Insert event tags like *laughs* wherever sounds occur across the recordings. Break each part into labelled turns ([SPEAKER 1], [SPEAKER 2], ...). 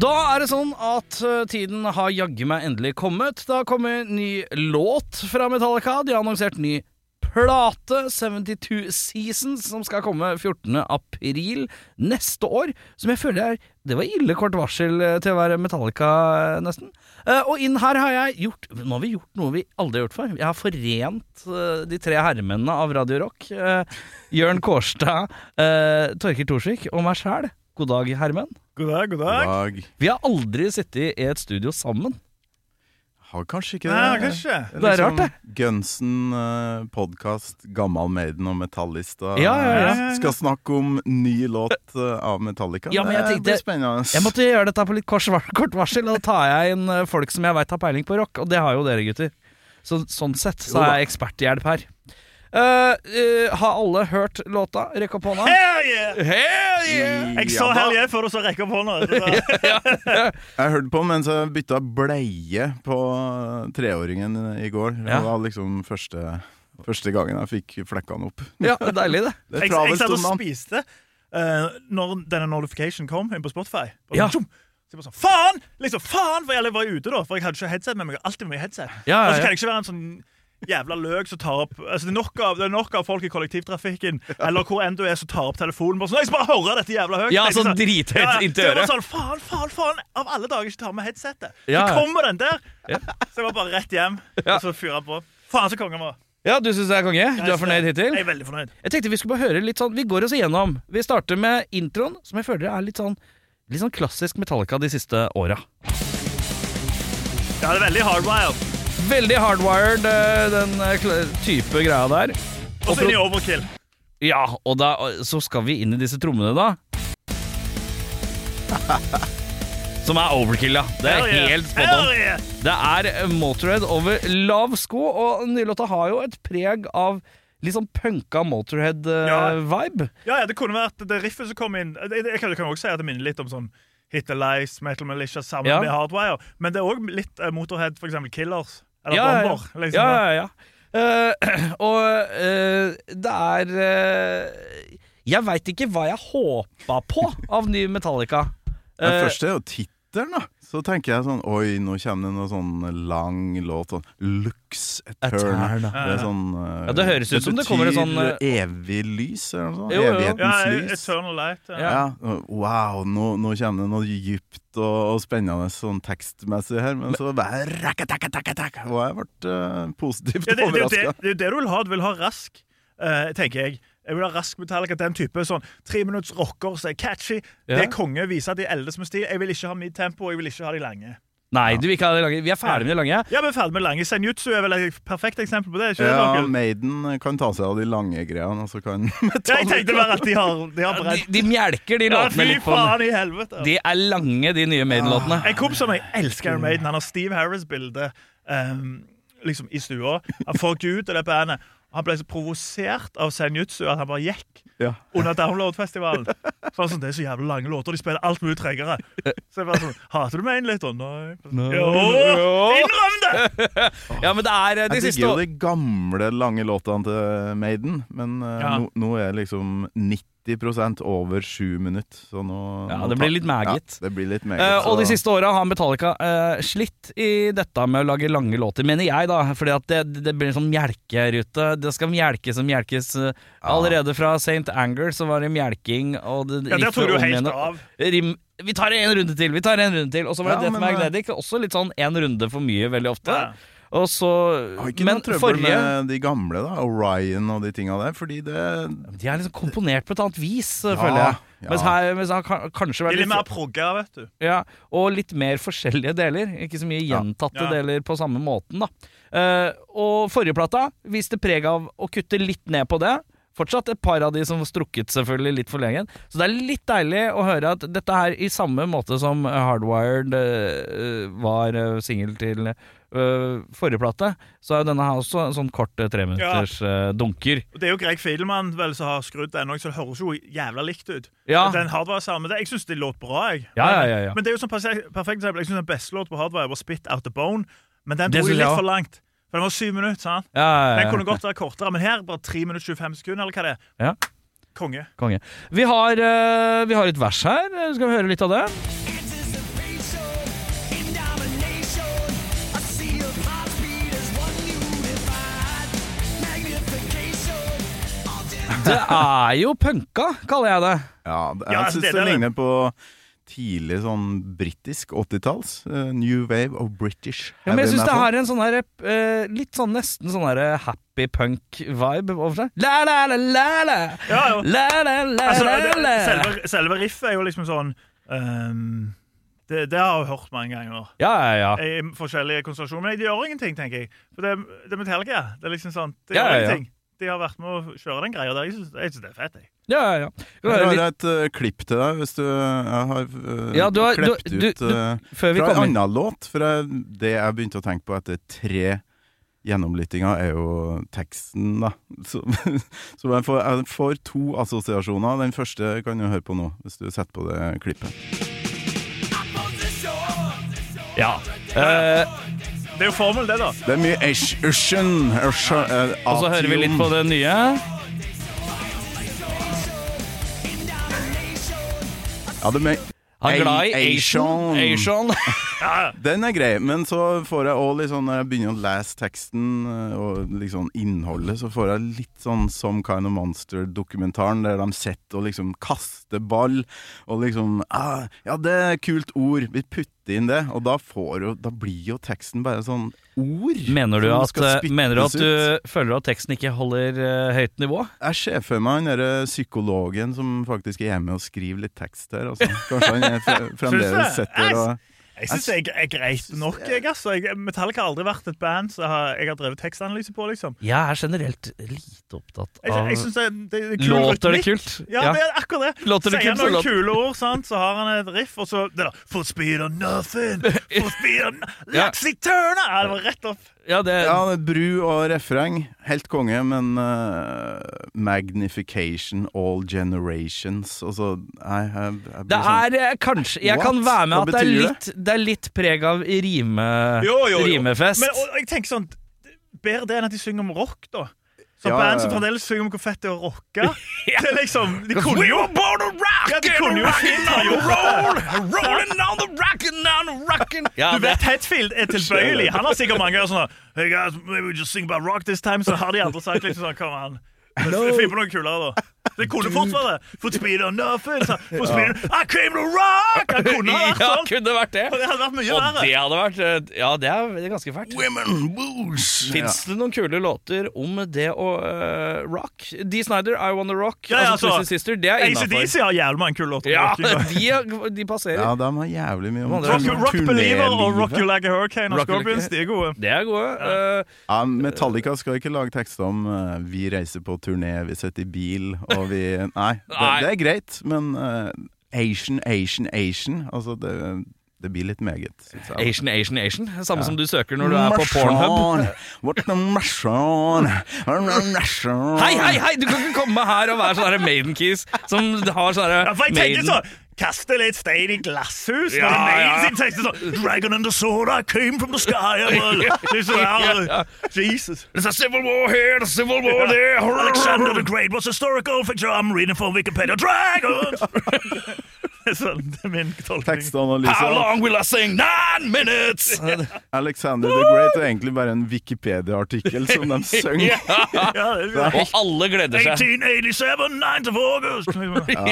[SPEAKER 1] Da er det sånn at eh, tiden har jaggu meg endelig kommet. Det har kommet ny låt fra Metallica. De har annonsert ny plate, 72 Seasons, som skal komme 14. april neste år. Som jeg føler er Det var ille kort varsel eh, til å være Metallica, eh, nesten. Eh, Og inn her har jeg gjort Nå har vi gjort noe vi aldri har gjort før. Jeg har forent eh, de tre herremennene av Radio Rock. eh, Jørn Kårstad, eh, Torkil Thorsvik og meg sjæl. God dag, herremenn.
[SPEAKER 2] God dag, god dag.
[SPEAKER 3] dag.
[SPEAKER 1] Vi har aldri sittet i et studio sammen.
[SPEAKER 3] Har kanskje ikke det.
[SPEAKER 2] Nei, kanskje.
[SPEAKER 1] Det er rart, det.
[SPEAKER 3] Gunsen, eh, podkast, Gammal Maiden og Metallista.
[SPEAKER 1] Ja, ja, ja.
[SPEAKER 3] Skal snakke om ny låt eh, av Metallica.
[SPEAKER 1] Ja, men jeg
[SPEAKER 3] det blir
[SPEAKER 1] tenkte-
[SPEAKER 3] spennende.
[SPEAKER 1] Jeg måtte gjøre dette på litt kors, kort varsel, og da tar jeg inn eh, folk som jeg veit har peiling på rock, og det har jo dere, gutter. Så, sånn sett så er jeg eksperthjelp her. Eh, eh, har alle hørt låta? Rekk opp hånda.
[SPEAKER 2] Hell yeah!
[SPEAKER 1] Hell
[SPEAKER 2] Jeg
[SPEAKER 3] Ja
[SPEAKER 2] sa
[SPEAKER 3] da.
[SPEAKER 2] hell yeah før du så rekke opp hånda. Så
[SPEAKER 3] *laughs*
[SPEAKER 2] da-
[SPEAKER 3] Jeg hørte på mens jeg bytta bleie på eh, treåringen i går.
[SPEAKER 1] Ja.
[SPEAKER 3] Det var liksom første, første gangen jeg fikk flekkene opp.
[SPEAKER 1] Ja, det er deilig, det.
[SPEAKER 3] Det
[SPEAKER 2] Jeg,
[SPEAKER 3] er
[SPEAKER 2] jeg
[SPEAKER 3] travelt
[SPEAKER 2] satt og
[SPEAKER 3] om dagen.
[SPEAKER 2] spiste eh, når denne notification kom inn på Spotify. Og
[SPEAKER 1] Ja.
[SPEAKER 2] tjom! Så jeg bare sånn, faen! Liksom, faen! For jeg var ute da, for jeg hadde ikke headset med meg. Jeg har alltid med meg headset.
[SPEAKER 1] Ja, ja,
[SPEAKER 2] Og så
[SPEAKER 1] ja.
[SPEAKER 2] kan jeg ikke være en sånn jævla løk som tar opp altså, det, er nok av, det er nok av folk i
[SPEAKER 1] *laughs*
[SPEAKER 2] kollektivtrafikken eller hvor enn du er, som tar opp telefonen. Bare sånn, jeg skal bare høre dette jævla høyt.
[SPEAKER 1] Ja,
[SPEAKER 2] Tenkte
[SPEAKER 1] sånn
[SPEAKER 2] sånn,
[SPEAKER 1] drithøyt
[SPEAKER 2] ja,
[SPEAKER 1] inntil
[SPEAKER 2] så jeg
[SPEAKER 1] øret.
[SPEAKER 2] var Sånn, faen, faen, faen! Av alle dager ikke tar med headsetet.
[SPEAKER 1] Ja, ja.
[SPEAKER 2] Så kommer den der! *laughs* Så jeg var bare rett hjem, og så fyrer jeg på. Faen, så kongen var.
[SPEAKER 1] Ja, du syns jeg er konge? Du er fornøyd hittil?
[SPEAKER 2] Jeg er veldig fornøyd.
[SPEAKER 1] Jeg tenkte vi skulle bare høre litt sånn Vi går oss igjennom. Vi starter med introen, som jeg føler er litt sånn Litt sånn klassisk Metallica de siste åra.
[SPEAKER 2] Ja, det er veldig hardwired.
[SPEAKER 1] Veldig hardwired, eh, den eh, kl- type greia der.
[SPEAKER 2] Og så inn i overkill.
[SPEAKER 1] Ja, og da, så skal vi inn i disse trommene,
[SPEAKER 2] *laughs*
[SPEAKER 1] da. Som er overkill, ja. Det er
[SPEAKER 2] Hell yeah.
[SPEAKER 1] helt spot on.
[SPEAKER 2] Hell yeah.
[SPEAKER 1] Det er Motorhead over lav sko, og den nye låta har jo et preg av litt sånn punka eh,
[SPEAKER 2] Ja.
[SPEAKER 1] Motorhead-vibe.
[SPEAKER 2] Ja, ja, det kunne vært det riffet som kom inn. Jeg, jeg, kan- jeg kan også si at det minner litt om sånn Hit Alice, Metal Militia sammen
[SPEAKER 1] Ja.
[SPEAKER 2] med Hardwire. Men det er òg litt eh, Motorhead, for eksempel Killers. Eller
[SPEAKER 1] Ja, ja, ja.
[SPEAKER 2] Bomber. Liksom.
[SPEAKER 1] Ja, ja, ja. Eh, *clears throat* og eh, det er eh, Jeg veit ikke hva jeg håpa på av ny Metallica.
[SPEAKER 3] Det
[SPEAKER 1] Eh,
[SPEAKER 3] første er jo tittelen, da. Så tenker jeg sånn Oi, nå kommer det noe sånn lang låt. Sånn Lux Eterna.
[SPEAKER 1] Eterna.
[SPEAKER 3] Det er sånn eh,
[SPEAKER 1] Ja, det høres ut som det kommer en sånn,
[SPEAKER 3] betyr Evig lys, eller noe sånt.
[SPEAKER 1] Jo, jo, jo.
[SPEAKER 2] Ja, eh,
[SPEAKER 3] Evighetens lys.
[SPEAKER 2] Eternal Light. Ja.
[SPEAKER 1] Ja.
[SPEAKER 3] Ja, wow, nå, nå kommer det noe dypt og, og spennende sånn tekstmessig her, men så bare rakka, takka, takka, takka, Og jeg ble eh, positivt
[SPEAKER 2] Ja, det, det, er jo det,
[SPEAKER 3] overraska.
[SPEAKER 2] det er jo det du vil ha. Du vil ha rask, eh, tenker jeg. Jeg vil ha rask Metallica, den type sånn tre minutts rocker som er catchy.
[SPEAKER 1] Ja.
[SPEAKER 2] Det er konge, viser at de eldes med stil. Jeg vil ikke ha mitt tempo, og jeg vil ikke ha de lange.
[SPEAKER 1] nei, du, vi, kan, vi er ferdig med det lange.
[SPEAKER 2] Ja, vi er ferdig med lange. Senjutsu er vel et perfekt eksempel på det? ikke det,
[SPEAKER 3] Ja,
[SPEAKER 2] Torkel?
[SPEAKER 3] Maiden kan ta seg av de lange greiene, og så kan *laughs*
[SPEAKER 2] Ja, jeg tenkte bare at de har, de har
[SPEAKER 1] De,
[SPEAKER 2] brent.
[SPEAKER 1] de mjelker de
[SPEAKER 2] Ja,
[SPEAKER 1] låtene
[SPEAKER 2] fy
[SPEAKER 1] litt på den.
[SPEAKER 2] faen i helvete.
[SPEAKER 1] De er lange, de nye Maiden-låtene.
[SPEAKER 2] En kompis av meg elsker Iron Maiden. Han har Steve Harris-bilde ehm, liksom i stua. Han får ikke ut av det bandet. Han ble så provosert av Senjutsu at han bare gikk
[SPEAKER 3] ja.
[SPEAKER 2] under Download-festivalen. Så han sånn, Det er så jævlig lange låter, og de spiller alt mye tregere. Så jeg bare sånn Hater du Maiden litt? Å, nei. Jo, innrøm det!
[SPEAKER 1] Ja, men det er eh, de
[SPEAKER 3] Jeg
[SPEAKER 1] siste
[SPEAKER 3] digger jo
[SPEAKER 1] å-
[SPEAKER 3] de gamle, lange låtene til Maiden, men eh,
[SPEAKER 2] Ja.
[SPEAKER 3] nå, nå er liksom 90 over sju minutter, så nå
[SPEAKER 1] Ja,
[SPEAKER 3] nå
[SPEAKER 1] det
[SPEAKER 3] tar-
[SPEAKER 1] blir litt meget.
[SPEAKER 3] Ja, det blir litt meget.
[SPEAKER 1] Eh, og de
[SPEAKER 3] så-
[SPEAKER 1] siste åra har Metallica eh, slitt i dette med å lage lange låter, mener jeg, da. Fordi at det, det blir en sånn mjelkerute. Det skal mjelkes og mjelkes. eh, Allerede fra St. Anger så var det mjelking, og det
[SPEAKER 2] Ja,
[SPEAKER 1] gikk
[SPEAKER 2] Der tok
[SPEAKER 1] for
[SPEAKER 2] du
[SPEAKER 1] om igjen
[SPEAKER 2] helt
[SPEAKER 1] og-
[SPEAKER 2] av.
[SPEAKER 1] Rim, vi tar en runde til, vi tar en runde til. Og så var det
[SPEAKER 3] Ja,
[SPEAKER 1] Death
[SPEAKER 3] men, eh,
[SPEAKER 1] Magnetic, også litt sånn en runde for mye veldig ofte.
[SPEAKER 2] Ja.
[SPEAKER 1] Og så
[SPEAKER 3] Har ikke
[SPEAKER 1] Men
[SPEAKER 3] noe trøbbel
[SPEAKER 1] forrige
[SPEAKER 3] med de gamle, da. Orion og de tinga der. Fordi det
[SPEAKER 1] De er liksom komponert på et annet vis, eh, føler jeg.
[SPEAKER 3] ja.
[SPEAKER 1] Mens her mens han kan, kanskje
[SPEAKER 2] De
[SPEAKER 1] vært
[SPEAKER 2] er litt mer
[SPEAKER 1] litt,
[SPEAKER 2] progga, vet du.
[SPEAKER 1] ja, Og litt mer forskjellige deler. Ikke så mye
[SPEAKER 3] Ja.
[SPEAKER 1] gjentatte
[SPEAKER 2] Ja.
[SPEAKER 1] deler på samme måten, da. Eh, og forrige plata viste preg av å kutte litt ned på det. Fortsatt et par av de som strukket selvfølgelig litt for lenge. Så det er litt deilig å høre at dette her, i samme måte som Hardwired eh, var eh, singel til eh, forrige plate, så er jo denne her også en sånn kort eh, treminutters eh, dunker.
[SPEAKER 2] Og Det er jo Greg Fidelmann vel som har skrudd den òg, så det høres jo jævla likt ut.
[SPEAKER 1] Ja.
[SPEAKER 2] Den hardware samme det. Jeg syns det låt bra, jeg.
[SPEAKER 1] Ja, ja,
[SPEAKER 2] Men-
[SPEAKER 1] ja, ja.
[SPEAKER 2] Men det er jo sånn perse- perfekt eksempel. Jeg syns den beste låt på hardware var Spit Out The Bone, men den
[SPEAKER 1] Det
[SPEAKER 2] dro jo
[SPEAKER 1] synes jeg
[SPEAKER 2] litt
[SPEAKER 1] også.
[SPEAKER 2] for langt. For den var syv minutter, sant?
[SPEAKER 1] Ja, ja,
[SPEAKER 2] Den
[SPEAKER 1] ja.
[SPEAKER 2] kunne godt være kortere, men her bare 3 minutter 25 sekunder, eller hva det er.
[SPEAKER 1] Ja.
[SPEAKER 2] Konge.
[SPEAKER 1] Konge. Vi har, eh, vi har et vers her. Skal vi høre litt av det? Det er jo punka, kaller jeg det.
[SPEAKER 3] Ja, det-
[SPEAKER 2] Ja,
[SPEAKER 1] altså,
[SPEAKER 3] jeg syns
[SPEAKER 2] det
[SPEAKER 3] det,
[SPEAKER 2] er det.
[SPEAKER 3] ligner på tidlig sånn britisk 80-talls. eh, new wave of British
[SPEAKER 1] Ja, men jeg
[SPEAKER 3] heavy
[SPEAKER 1] syns det
[SPEAKER 3] metal.
[SPEAKER 1] har en sånn der, eh, litt sånn nesten sånn der happy punk-vibe over seg. La, la, la, la, la.
[SPEAKER 2] Ja, ja.
[SPEAKER 1] La, la, la,
[SPEAKER 2] Altså,
[SPEAKER 1] la,
[SPEAKER 2] det,
[SPEAKER 1] la.
[SPEAKER 2] selve, selve riffet er jo liksom sånn ehm, det, det har jeg hørt mange ganger.
[SPEAKER 1] Ja, ja, ja.
[SPEAKER 2] *laughs* I forskjellige konstellasjoner. Men det gjør ingenting, tenker jeg. For det, det er Metallica. Det er liksom sånn, det
[SPEAKER 1] Ja,
[SPEAKER 2] gjør
[SPEAKER 1] ja, ja.
[SPEAKER 2] ingenting. De har vært med å kjøre den greia der. Jeg syns jeg synes det er fett. jeg.
[SPEAKER 1] ja, ja, ja. Skal vi
[SPEAKER 3] Jeg
[SPEAKER 1] høre
[SPEAKER 3] har
[SPEAKER 1] litt
[SPEAKER 3] et eh, klipp til deg, hvis du jeg har uh,
[SPEAKER 1] Ja, du har- du-
[SPEAKER 3] klept
[SPEAKER 1] du-
[SPEAKER 3] ut
[SPEAKER 1] du-
[SPEAKER 3] eh,
[SPEAKER 1] før vi
[SPEAKER 3] fra en
[SPEAKER 1] kommer
[SPEAKER 3] annen låt. For jeg, det jeg begynte å tenke på etter tre gjennomlyttinger, er jo teksten, da. *laughs* Så, så jeg, får, jeg får to assosiasjoner. Den første kan du høre på nå, hvis du setter på det klippet.
[SPEAKER 1] Ja. Eh,
[SPEAKER 2] Det er jo formel, det, da.
[SPEAKER 3] Det er mye æsj, usjen, usja, eh,
[SPEAKER 1] og så hører vi litt på det
[SPEAKER 3] ation.
[SPEAKER 1] nye.
[SPEAKER 3] Ja, det er mer-
[SPEAKER 1] Han er glad i
[SPEAKER 3] Asian.
[SPEAKER 1] Asian. Asian.
[SPEAKER 2] *laughs*
[SPEAKER 3] Den er grei, men så får jeg også litt sånn Når jeg begynner å lese teksten eh, og liksom innholdet, så får jeg litt sånn Some Kind of Monster-dokumentaren, der de sitter og liksom kaster ball, og liksom ah, Ja, det er et kult ord, vi putter inn det, og da får jo Da blir jo teksten bare sånn ord.
[SPEAKER 1] Mener du,
[SPEAKER 3] som
[SPEAKER 1] at, eh,
[SPEAKER 3] skal spyttes
[SPEAKER 1] mener du at
[SPEAKER 3] ut.
[SPEAKER 1] du føler at teksten ikke holder eh, høyt nivå?
[SPEAKER 3] Jeg ser for meg han derre psykologen som faktisk er hjemme og skriver litt tekst her, altså. Kanskje han er fre-
[SPEAKER 2] Synes
[SPEAKER 3] fremdeles
[SPEAKER 2] du det?
[SPEAKER 3] sitter og
[SPEAKER 2] Jeg syns det er er greit nok. Jeg, altså. jeg, Metallica har aldri vært et band som har- jeg har drevet tekstanalyse på. liksom
[SPEAKER 1] Jeg er generelt lite opptatt
[SPEAKER 2] Jeg,
[SPEAKER 1] av
[SPEAKER 2] jeg synes det, det, det er kul
[SPEAKER 1] Ah. Låter det
[SPEAKER 2] rytmikk.
[SPEAKER 1] kult?
[SPEAKER 2] Ja, det er akkurat det.
[SPEAKER 1] Låter det
[SPEAKER 2] Sier
[SPEAKER 1] kult, så
[SPEAKER 2] han noen
[SPEAKER 1] låter-
[SPEAKER 2] kule ord, sant? så har han et riff, og så det der, For speed or nothing, for speed or no-
[SPEAKER 1] *laughs* Ja.
[SPEAKER 2] Laxi Turner! Ja, det var rett opp.
[SPEAKER 1] Ja, det,
[SPEAKER 3] Ja, det er bru og refreng. Helt konge, men eh, magnification all generations Altså, nei, jeg,
[SPEAKER 1] det
[SPEAKER 3] jeg blir sånn
[SPEAKER 1] er eh, kanskje Jeg kan
[SPEAKER 3] What?
[SPEAKER 1] være med
[SPEAKER 3] Hva
[SPEAKER 1] at det er
[SPEAKER 3] betyr
[SPEAKER 1] litt, det er litt preg av rime,
[SPEAKER 2] Jo, jo, jo.
[SPEAKER 1] rimefest.
[SPEAKER 2] Men og, og jeg tenker sånn Bedre det enn at de synger om rock, da. Så
[SPEAKER 3] Ja,
[SPEAKER 2] band
[SPEAKER 3] ja,
[SPEAKER 2] som
[SPEAKER 3] ja.
[SPEAKER 2] fremdeles synger om hvor fett det er
[SPEAKER 1] *laughs*
[SPEAKER 2] å rocke Det er liksom De kunne jo Ja, de kunne jo fint ha gjort det.
[SPEAKER 1] ja,
[SPEAKER 2] Du vet Hetfield er tilbøyelig. Han har sikkert mange ganger sånn Hey guys, maybe we just sing about rock this time. Så har de andre sagt liksom sånn Kom an. Finn på noe kulere, da. Det kunne fort vært det. For speed or nothing. sa- For speed I came to rock! Han kunne ha vært
[SPEAKER 1] *laughs* ja,
[SPEAKER 2] sånn.
[SPEAKER 1] kunne vært det.
[SPEAKER 2] Og det hadde vært mye
[SPEAKER 1] Og det
[SPEAKER 2] verre.
[SPEAKER 1] hadde vært eh, Ja, det er ganske fælt.
[SPEAKER 3] Women, booze! Ja.
[SPEAKER 1] Fins det noen kule låter om det å eh, rock? Dee Snyder, I Wanna Rock,
[SPEAKER 2] Ja, ja,
[SPEAKER 1] altså
[SPEAKER 2] altså,
[SPEAKER 1] Twisted Sister, det er
[SPEAKER 2] ACDC
[SPEAKER 1] innafor.
[SPEAKER 2] har jævlig mange kule låter.
[SPEAKER 1] Ja,
[SPEAKER 2] Rock, you know.
[SPEAKER 1] de, er- de passerer.
[SPEAKER 3] ja, de har jævlig mye om
[SPEAKER 2] Rock,
[SPEAKER 3] turn-
[SPEAKER 2] rock Believer og
[SPEAKER 3] turnélivet.
[SPEAKER 2] Rock You Like a Hurricane og
[SPEAKER 1] Rock You Like a-
[SPEAKER 2] Scorpions, de er gode.
[SPEAKER 1] Det er gode. eh,
[SPEAKER 3] Ja, Metallica skal ikke lage tekster om eh, 'vi reiser på turné, vi sitter i bil' og vi
[SPEAKER 2] *laughs*
[SPEAKER 3] Nei, det,
[SPEAKER 1] Nei.
[SPEAKER 3] det er greit, men eh, Asian, Asian, Asian Altså, det, det blir litt meget, syns jeg.
[SPEAKER 1] Asian, Asian, Asian. Samme som du søker når du er på Pornhub.
[SPEAKER 3] What the Marshall?
[SPEAKER 1] Hei, hei, hei! Du kan ikke komme her og være sånne Maiden-keys som har sånne
[SPEAKER 2] Ja, for jeg tenker sånn Kaste litt stein i glasshus ja, Når det
[SPEAKER 1] ja.
[SPEAKER 2] er sin tekst sånn Dragon and the sword, I came from the sky *laughs* I will-" liksom, ja, Jesus
[SPEAKER 1] It's a sånn civil war here, it's a civil war
[SPEAKER 2] er
[SPEAKER 1] there. *laughs*
[SPEAKER 2] Alexander the Great was a historical fiction I'm reading from Wikipedia Dragons *laughs* Det er sånn, det er min tolkning.
[SPEAKER 3] Tekstanalyse av
[SPEAKER 1] will I sing? Nine minutes!
[SPEAKER 3] Alexander the Great er egentlig bare en Wikipedia-artikkel som
[SPEAKER 1] *laughs*
[SPEAKER 3] de synger.
[SPEAKER 2] Ja,
[SPEAKER 3] *laughs*
[SPEAKER 2] det er
[SPEAKER 1] Og alle gleder seg.
[SPEAKER 2] 1887, 9th of August.
[SPEAKER 1] Ja,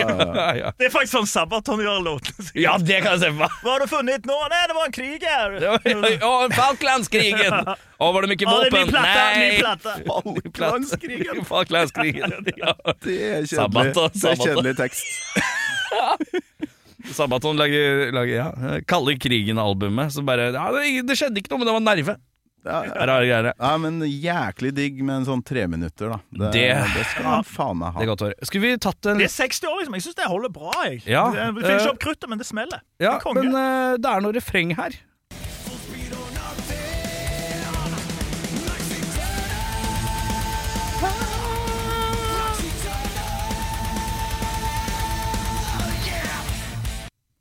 [SPEAKER 1] ja.
[SPEAKER 2] Det er faktisk sånn Sabaton gjør låten sin.
[SPEAKER 1] *laughs* ja, det kan jeg se for meg.
[SPEAKER 2] Hva har du funnet nå? Nei, det var en krig her.
[SPEAKER 1] Ja, ja, ja, Falklandskrigen! Å, var det mye
[SPEAKER 2] Ja, det er ny
[SPEAKER 1] våpen?
[SPEAKER 2] plate, ny plate.
[SPEAKER 3] *laughs* Falklandskrigen!
[SPEAKER 1] *laughs* Falklandskrigen. Ja.
[SPEAKER 3] Det er kjedelig,
[SPEAKER 1] Sabbatå,
[SPEAKER 3] det er
[SPEAKER 1] sabbatå.
[SPEAKER 3] kjedelig tekst.
[SPEAKER 1] Sabaton lager, lager ja. Kalle krigen-albumet. Så bare ja, det, det skjedde ikke noe, men det var nerve.
[SPEAKER 3] Ja, ja.
[SPEAKER 1] Rare greier.
[SPEAKER 3] ja, men jæklig digg med en sånn treminutter, da. Det, det,
[SPEAKER 1] Det-
[SPEAKER 3] skal man faen meg
[SPEAKER 1] Det er
[SPEAKER 3] ha.
[SPEAKER 1] godt å høre. Skulle vi tatt en
[SPEAKER 2] Det er 60 år, liksom. Jeg syns det holder bra. jeg
[SPEAKER 1] Ja,
[SPEAKER 2] Det det finner
[SPEAKER 1] eh,
[SPEAKER 2] ikke opp kruttet, men det smeller. Det
[SPEAKER 1] Ja,
[SPEAKER 2] er konge.
[SPEAKER 1] men eh, det er noe refreng her.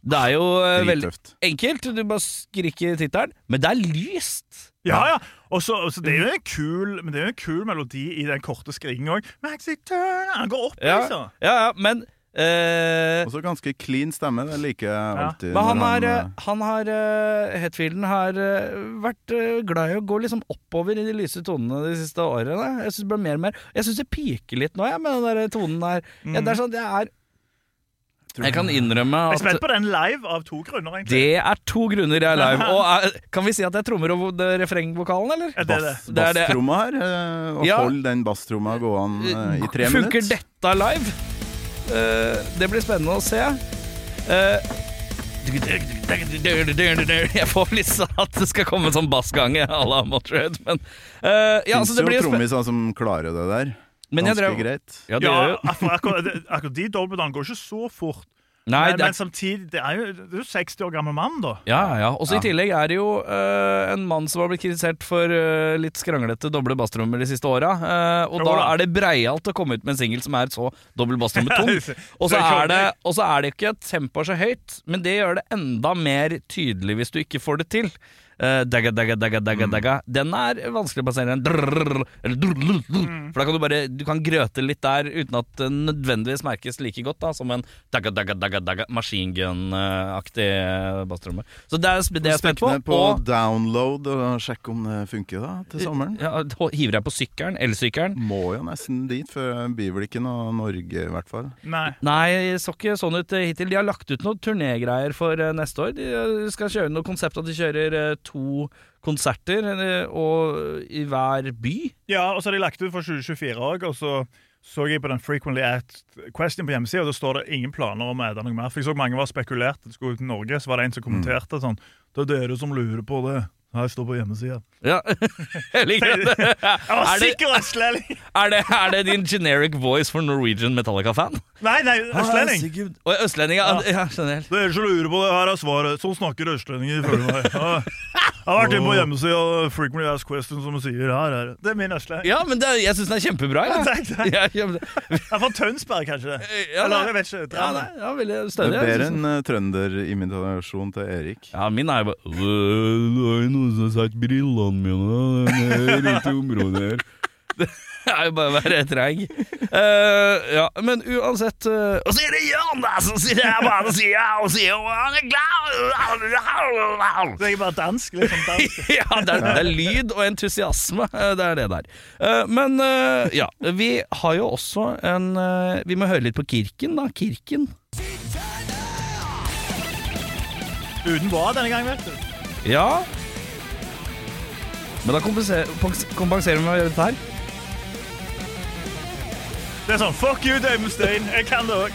[SPEAKER 1] Det er jo eh, veldig
[SPEAKER 3] Drittøft.
[SPEAKER 1] enkelt, du bare skriker tittelen, men det er lyst.
[SPEAKER 2] Ja, ja. Og så, og så det er jo en kul Men det er jo en kul melodi i den korte skrikingen òg. Maxi Turner Han går opp,
[SPEAKER 1] Ja,
[SPEAKER 2] liksom.
[SPEAKER 1] ja, ja men eh,
[SPEAKER 3] Også ganske clean stemme. Det liker jeg alltid.
[SPEAKER 1] men han,
[SPEAKER 3] når
[SPEAKER 1] er, eh, han har eh, Hetfielden har eh, vært eh, glad i å gå liksom oppover i de lyse tonene de siste årene. Jeg syns det ble mer og mer Jeg synes det piker litt nå, jeg, med den der eh, tonen der. Ja,
[SPEAKER 2] Mm.
[SPEAKER 1] det er sånn, det er Jeg kan innrømme
[SPEAKER 2] Jeg er spent
[SPEAKER 1] at
[SPEAKER 2] på den live av to grunner, egentlig.
[SPEAKER 1] det er to grunner jeg er
[SPEAKER 2] *laughs*
[SPEAKER 1] live. Og er, kan vi si at det er trommer og vo- det- refrengvokalen, eller?
[SPEAKER 2] Ja, det er det.
[SPEAKER 3] Bass-
[SPEAKER 1] Det er det.
[SPEAKER 3] Basstromma her, eh, og
[SPEAKER 1] Ja.
[SPEAKER 3] hold den basstromma gående eh, i tre
[SPEAKER 1] Funker
[SPEAKER 3] minutter.
[SPEAKER 1] dette live? Eh, det blir spennende å se. Eh, *laughs* jeg får lyst til at det skal komme en sånn bassgange à la Motörhead, men eh, ja, altså,
[SPEAKER 3] Fins
[SPEAKER 1] det
[SPEAKER 3] jo
[SPEAKER 1] blir jo spen-
[SPEAKER 3] trommiser som klarer det der.
[SPEAKER 1] Men jeg
[SPEAKER 3] Ganske
[SPEAKER 1] drev-
[SPEAKER 3] greit.
[SPEAKER 1] Ja, det
[SPEAKER 2] Ja,
[SPEAKER 1] gjør jo
[SPEAKER 2] akkurat, akkurat, det- akkurat de dobbeltene går ikke så fort.
[SPEAKER 1] Nei,
[SPEAKER 2] men,
[SPEAKER 1] det
[SPEAKER 2] men
[SPEAKER 1] er
[SPEAKER 2] samtidig, det er jo, det er jo 60 år gammel mann, da.
[SPEAKER 1] ja, ja. Og så i tillegg er det jo eh, en mann som har blitt kritisert for eh, litt skranglete doble basstrommer de siste åra. eh, og
[SPEAKER 2] Jo
[SPEAKER 1] da
[SPEAKER 2] da.
[SPEAKER 1] er det breialt å komme ut med en singel som er så dobbel basstromme *laughs* tung.
[SPEAKER 2] Så-
[SPEAKER 1] Og så
[SPEAKER 2] så
[SPEAKER 1] er
[SPEAKER 2] kommer-
[SPEAKER 1] det, og så er det ikke at tempoet er så høyt, men det gjør det enda mer tydelig hvis du ikke får det til. Eh, dagga, dagga, dagga, dagga, dagga. Den er vanskelig å plassere enn drrrr, eller drrrr, drrrr. For da kan du bare Du kan grøte litt der uten at det nødvendigvis merkes like godt da som en dagga, dagga, dagga, dagga, maskingun-aktig basstromme. Så det er det er jeg
[SPEAKER 3] Stikk
[SPEAKER 1] spent på.
[SPEAKER 3] ned på
[SPEAKER 1] og
[SPEAKER 3] download og sjekk om det funker da, til sommeren.
[SPEAKER 1] ja, hiver jeg på sykkelen? Elsykkelen?
[SPEAKER 3] Må jo nesten dit, for blir vel ikke noe Norge, i hvert fall.
[SPEAKER 2] Nei.
[SPEAKER 1] Nei, så ikke sånn ut eh, hittil. De har lagt ut noen turnégreier for eh, neste år. De eh, skal kjøre noe konsept at de kjører eh, to konserter eh, og i hver by.
[SPEAKER 2] Ja, og så har de lagt ut for 2024 òg, og så så jeg på den Frequently Asked Question på hjemmesida, og da står det ingen planer om å ete noe mer. For jeg så mange var spekulert at det skulle ut til Norge, så var det en
[SPEAKER 1] Mm.
[SPEAKER 2] som kommenterte sånn Det er dere som lurer på det. Her står på hjemmesida.
[SPEAKER 1] *laughs* Ja, jeg liker det. *laughs* Er det,
[SPEAKER 2] Sikker østlending!
[SPEAKER 1] er, det, er det din generic voice for Norwegian Metallica-fan?
[SPEAKER 2] Nei, nei,
[SPEAKER 1] Ah,
[SPEAKER 2] østlending.
[SPEAKER 1] Og Østlending, ja. ja skjønner jeg.
[SPEAKER 2] Dere som lurer på det, her er svaret. Sånn snakker østlendinger, ifølge meg.
[SPEAKER 1] *laughs*
[SPEAKER 2] Ja. Jeg har vært inne på hjemmesida Frequently Asked Question, som sier her er det. Det er min østlending.
[SPEAKER 1] Ja, men det, jeg syns den er kjempebra.
[SPEAKER 2] *laughs*
[SPEAKER 1] Ja.
[SPEAKER 2] Takk, takk.
[SPEAKER 1] Ja, ja, men det-
[SPEAKER 2] Jeg er fra Tønsberg, kanskje. det.
[SPEAKER 1] ja,
[SPEAKER 2] Eller jeg
[SPEAKER 1] nei,
[SPEAKER 2] vet ikke.
[SPEAKER 1] ja,
[SPEAKER 2] Drammen.
[SPEAKER 1] nei, ja, liksom veldig
[SPEAKER 3] Det
[SPEAKER 1] stødig.
[SPEAKER 3] er bedre enn
[SPEAKER 1] sånn.
[SPEAKER 3] uh, trønderimitasjon til Erik.
[SPEAKER 1] Ja, min er jo bare Det er jo noen som har satt brillene mine rundt i området her. *laughs* Det er jo bare å være treig. Eh, ja, men uansett eh, Og så er det Jan da, som sier jeg bare sier ja, og sier og han er *laughs* glad
[SPEAKER 2] Så jeg er bare dansk, liksom. Dansk.
[SPEAKER 1] Ja, det er, det er lyd og entusiasme. eh, Det er det der. Eh, men eh, ja, vi har jo også en eh, Vi må høre litt på Kirken, da. Kirken.
[SPEAKER 2] Uten hva denne gangen, vet du.
[SPEAKER 1] Ja Men da kompenserer, kompenserer vi med å gjøre dette her.
[SPEAKER 2] Det er sånn Fuck you, Damon Stein. Jeg kan det òg.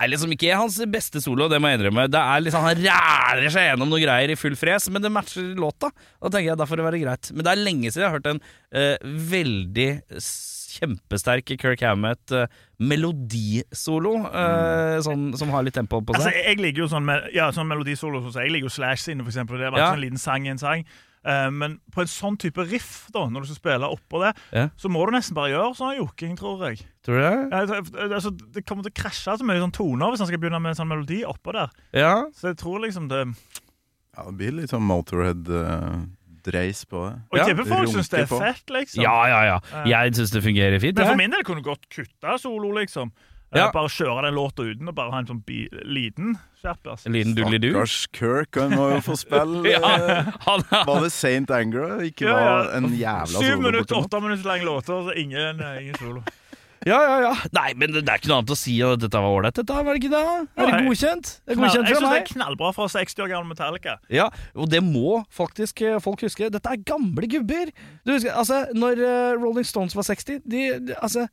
[SPEAKER 1] er liksom ikke hans beste solo, det må jeg innrømme. Det er liksom, Han ræler seg gjennom noen greier i full fres, men det matcher låta. Da tenker jeg da får det være greit. Men det er lenge siden jeg har hørt en eh, veldig s- kjempesterk Kirk Hammett eh, melodisolo, eh, sånn, som har litt tempo på
[SPEAKER 2] Altså,
[SPEAKER 1] seg.
[SPEAKER 2] jeg liker jo sånn, mel- ja, sånn melodisolo, sånn som jeg liker jo Slash sine, for eksempel. Det er bare
[SPEAKER 1] Ja.
[SPEAKER 2] sånn en liten sang i en sang. Eh, men på en sånn type riff, da, når du skal spille oppå det,
[SPEAKER 1] Ja.
[SPEAKER 2] så må du nesten bare gjøre sånn joking, tror jeg.
[SPEAKER 1] Tror du det?
[SPEAKER 2] Ja, det- altså, det kommer til å krasje så mye sånn toner hvis han skal begynne med en sånn melodi oppå der.
[SPEAKER 1] Ja.
[SPEAKER 2] Så jeg tror liksom det
[SPEAKER 3] Ja, det blir litt sånn Motorhead-drøyt dreis på det.
[SPEAKER 2] Og jeg tipper folk
[SPEAKER 3] Runke
[SPEAKER 2] syns det er
[SPEAKER 3] på.
[SPEAKER 2] fett, liksom.
[SPEAKER 1] Ja, ja, ja. Jeg syns det fungerer fint.
[SPEAKER 2] Men for
[SPEAKER 1] jeg.
[SPEAKER 2] min del kunne du godt kutte solo, liksom.
[SPEAKER 1] Ja.
[SPEAKER 2] Eh, Bare kjøre den låta uten, og bare ha en sånn bi liten altså. skjerpers.
[SPEAKER 1] En liten dudelidu. *laughs*
[SPEAKER 3] Stakkars Kirk, han må jo få spille eh,
[SPEAKER 1] Ja, han
[SPEAKER 3] Var det Saint Anger? Ikke
[SPEAKER 2] Ja, ja.
[SPEAKER 3] var en jævla
[SPEAKER 2] Syv
[SPEAKER 3] solo
[SPEAKER 2] minutter,
[SPEAKER 3] bortimot.
[SPEAKER 2] åtte minutter lang låter, så ingen, eh, ingen solo.
[SPEAKER 1] Ja, ja, ja. Nei, men det det er ikke noe annet å si enn at dette var ålreit, dette. her, Var det ikke det? Er det
[SPEAKER 2] Nei.
[SPEAKER 1] godkjent? Det er
[SPEAKER 2] Jeg
[SPEAKER 1] godkjent
[SPEAKER 2] syns
[SPEAKER 1] fra
[SPEAKER 2] det
[SPEAKER 1] meg.
[SPEAKER 2] er knallbra fra 60 år gammel Metallica.
[SPEAKER 1] Ja, og det må faktisk eh, folk huske. Dette er gamle gubber. Du husker, altså, når eh, Rolling Stones var 60 de, de, Altså,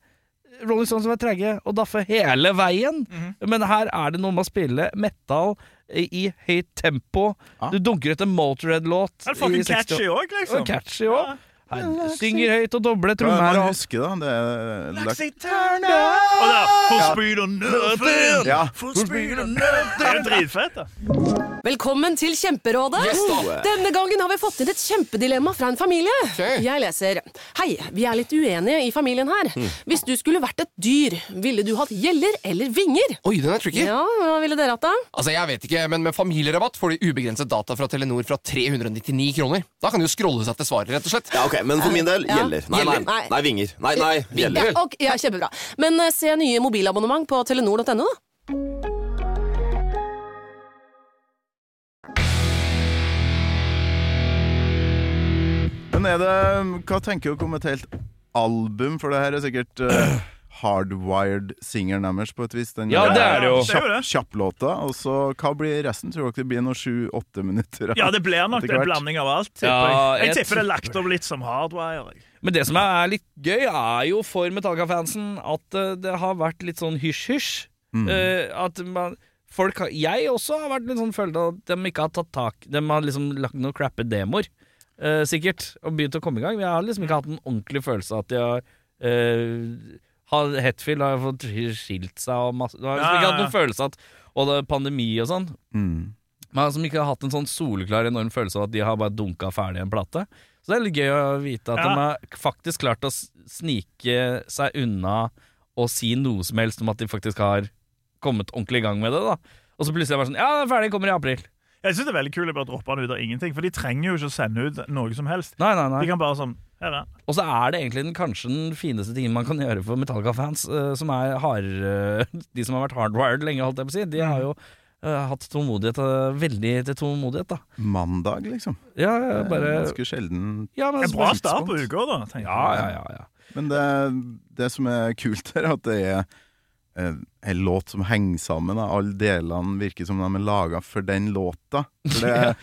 [SPEAKER 1] Rolling Stones var trege og daffe hele veien.
[SPEAKER 2] Mhm.
[SPEAKER 1] Men her er det noe med å spille metal eh, i høyt tempo.
[SPEAKER 3] Ja.
[SPEAKER 1] Du dunker ut en Motorhead-låt
[SPEAKER 2] Det er fucking catchy òg,
[SPEAKER 1] Og
[SPEAKER 2] liksom.
[SPEAKER 1] catchy òg.
[SPEAKER 2] Ja.
[SPEAKER 1] Her- Synger høyt og doble
[SPEAKER 3] Hva er
[SPEAKER 1] trommer.
[SPEAKER 3] det man
[SPEAKER 1] og-
[SPEAKER 3] husker, da? Det er Lax-
[SPEAKER 2] Laxi Turner. Og da, For speed on nothing.
[SPEAKER 3] Ja.
[SPEAKER 2] For speed on nothing. Det er jo dritfett, da.
[SPEAKER 4] Velkommen til Kjemperådet! Denne gangen har vi fått inn et kjempedilemma fra en familie. Jeg leser Hei, vi er litt uenige i familien her.
[SPEAKER 5] Mm.
[SPEAKER 4] Hvis du skulle vært et dyr, ville du hatt gjeller eller vinger?
[SPEAKER 6] Oi, den er tricky.
[SPEAKER 4] Ja, hva ville dere hatt da?
[SPEAKER 6] Altså, jeg vet ikke, men Med familierabatt får du ubegrenset data fra Telenor fra 399 kroner. Da kan du jo scrolle seg til svaret, rett og slett.
[SPEAKER 5] Ja, ok, Men for min del
[SPEAKER 4] Ja.
[SPEAKER 5] gjelder. Nei,
[SPEAKER 4] Gjelder.
[SPEAKER 5] nei,
[SPEAKER 4] Nei.
[SPEAKER 5] nei, vinger. Nei, nei, gjelder.
[SPEAKER 4] Ja, ok, ja, kjempebra. Men eh, se nye mobilabonnement på telenor.no, da.
[SPEAKER 3] Men er det Hva tenker dere om et helt album? For det her er sikkert eh, *clears throat* hardwired-singelen deres, på et vis. Den
[SPEAKER 1] Ja, det er det jo.
[SPEAKER 2] Det er jo det.
[SPEAKER 3] Kjapplåta. Og så hva blir resten? Tror dere det blir noe sju-åtte minutter?
[SPEAKER 2] Ja, det blir nok
[SPEAKER 3] Etter
[SPEAKER 2] en
[SPEAKER 3] hvert.
[SPEAKER 2] blanding av alt. Tipper
[SPEAKER 1] Ja,
[SPEAKER 2] jeg. jeg
[SPEAKER 1] jeg
[SPEAKER 2] tipper det er lagt opp litt som hardwire. jeg.
[SPEAKER 1] Men det som er litt gøy, er jo for Metallica-fansen at eh, det har vært litt sånn hysj-hysj.
[SPEAKER 2] Mm.
[SPEAKER 1] Eh, at man folk har, Jeg også har vært litt sånn følt at de ikke har tatt tak De har liksom lagt noen crappe demoer, eh, sikkert, og begynt å komme i gang. Men jeg har liksom ikke hatt en ordentlig følelse av at de har eh, har, Hetfield har fått skilt seg og masse Jeg har liksom
[SPEAKER 2] Ja,
[SPEAKER 1] ikke
[SPEAKER 2] ja,
[SPEAKER 1] hatt
[SPEAKER 2] ja.
[SPEAKER 1] noen følelse av at Og det er pandemi og sånn.
[SPEAKER 3] Mm.
[SPEAKER 1] Men som ikke har hatt en sånn soleklar enorm følelse av at de har bare dunka ferdig en plate. Så det er litt gøy å vite at
[SPEAKER 2] Ja.
[SPEAKER 1] de har faktisk klart å s- snike seg unna og si noe som helst om at de faktisk har kommet ordentlig i gang med det. da Og så plutselig er det bare sånn Ja, den er ferdig, kommer i april.
[SPEAKER 2] Jeg syns det er veldig kult å bare droppe den ut av ingenting, for de trenger jo ikke å sende ut noe som helst.
[SPEAKER 1] Nei, nei,
[SPEAKER 2] De
[SPEAKER 1] nei.
[SPEAKER 2] kan bare sånn Her er den.
[SPEAKER 1] Og så er det egentlig den, kanskje den fineste tingen man kan gjøre for Metallica-fans, eh, som er hardere *laughs* De som har vært hardwired lenge, holdt jeg på å si. De har jo eh, hatt tålmodighet, eh, veldig til tålmodighet, da.
[SPEAKER 3] Mandag, liksom.
[SPEAKER 1] Ja, ja, bare
[SPEAKER 3] Ganske sjelden.
[SPEAKER 1] ja, men,
[SPEAKER 2] En bra start på uka, da.
[SPEAKER 1] Altså,
[SPEAKER 2] tenker jeg.
[SPEAKER 1] Ja, ja, ja, ja.
[SPEAKER 3] Men det, det som er kult her, er at det er eh, en låt som henger sammen. Da. Alle delene virker som de er laga for den låta.
[SPEAKER 1] *laughs*
[SPEAKER 3] For det,